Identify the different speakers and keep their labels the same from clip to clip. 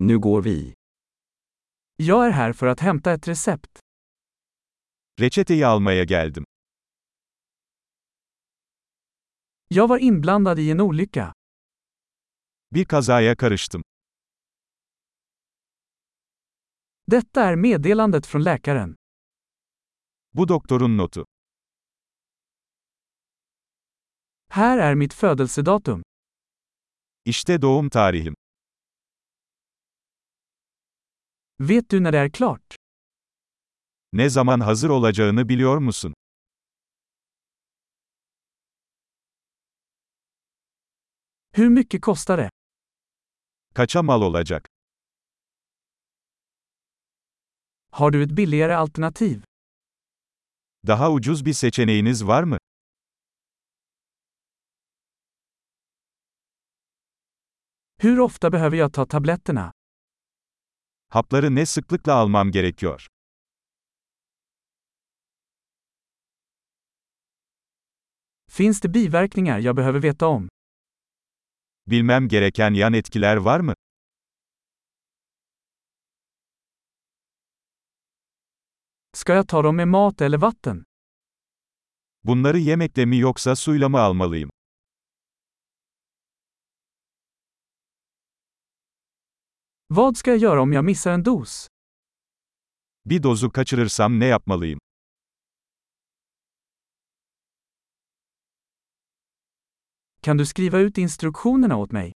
Speaker 1: Nu går vi.
Speaker 2: Jag är här för att hämta ett recept.
Speaker 3: Reçeteyi almaya geldim.
Speaker 2: Jag var inblandad i en olycka.
Speaker 3: Bir kazaya karıştım.
Speaker 2: Detta är meddelandet från läkaren.
Speaker 3: Bu doktorun notu.
Speaker 2: Här är mitt födelsedatum.
Speaker 3: İşte doğum tarihim.
Speaker 2: Vet du när det är klart?
Speaker 3: Ne zaman hazır olacağını biliyor musun?
Speaker 2: Hur mycket kostar det?
Speaker 3: Kaça mal olacak?
Speaker 2: Har du ett billigare alternativ?
Speaker 3: Daha ucuz bir seçeneğiniz var mı?
Speaker 2: Hur ofta behöver jag ta tabletterna?
Speaker 3: Hapları ne sıklıkla almam gerekiyor?
Speaker 2: Finns det biverkningar jag behöver veta om?
Speaker 3: Bilmem gereken yan etkiler var mı?
Speaker 2: Ska jag ta dem med mat eller vatten?
Speaker 3: Bunları yemekle mi yoksa suyla mı almalıyım?
Speaker 2: Vad ska jag göra om jag missar en dos?
Speaker 3: Bir dozu kaçırırsam ne yapmalıyım?
Speaker 2: Kan du skriva ut instruktionerna åt mig?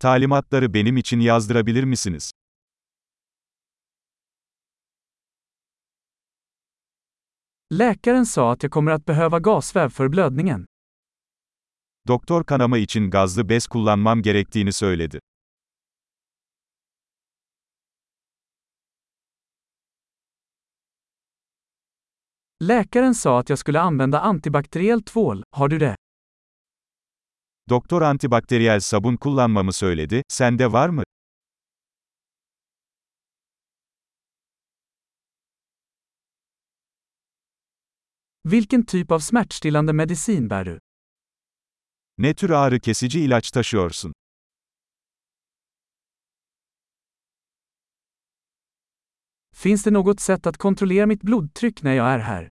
Speaker 3: Talimatları benim için yazdırabilir misiniz?
Speaker 2: Läkaren sa att jag kommer att behöva gasväv för blödningen.
Speaker 3: Doktor kanama için gazlı bez kullanmam gerektiğini söyledi.
Speaker 2: Läkaren sa att jag skulle använda antibakteriell tvål, har du det?
Speaker 3: Doktor antibakteriyel sabun kullanmamı söyledi, sende var mı?
Speaker 2: Vilken typ av smärtstillande medicin bär du?
Speaker 3: Ne tür ağrı kesici ilaç taşıyorsun?
Speaker 2: Finns det något sätt att kontrollera mitt blodtryck när jag är här?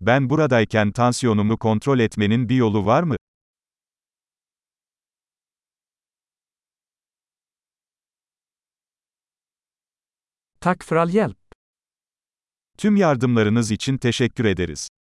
Speaker 3: Ben buradayken tansiyonumu kontrol etmenin bir yolu var mı?
Speaker 2: Tack för all hjälp.
Speaker 3: Tüm yardımlarınız için teşekkür ederiz.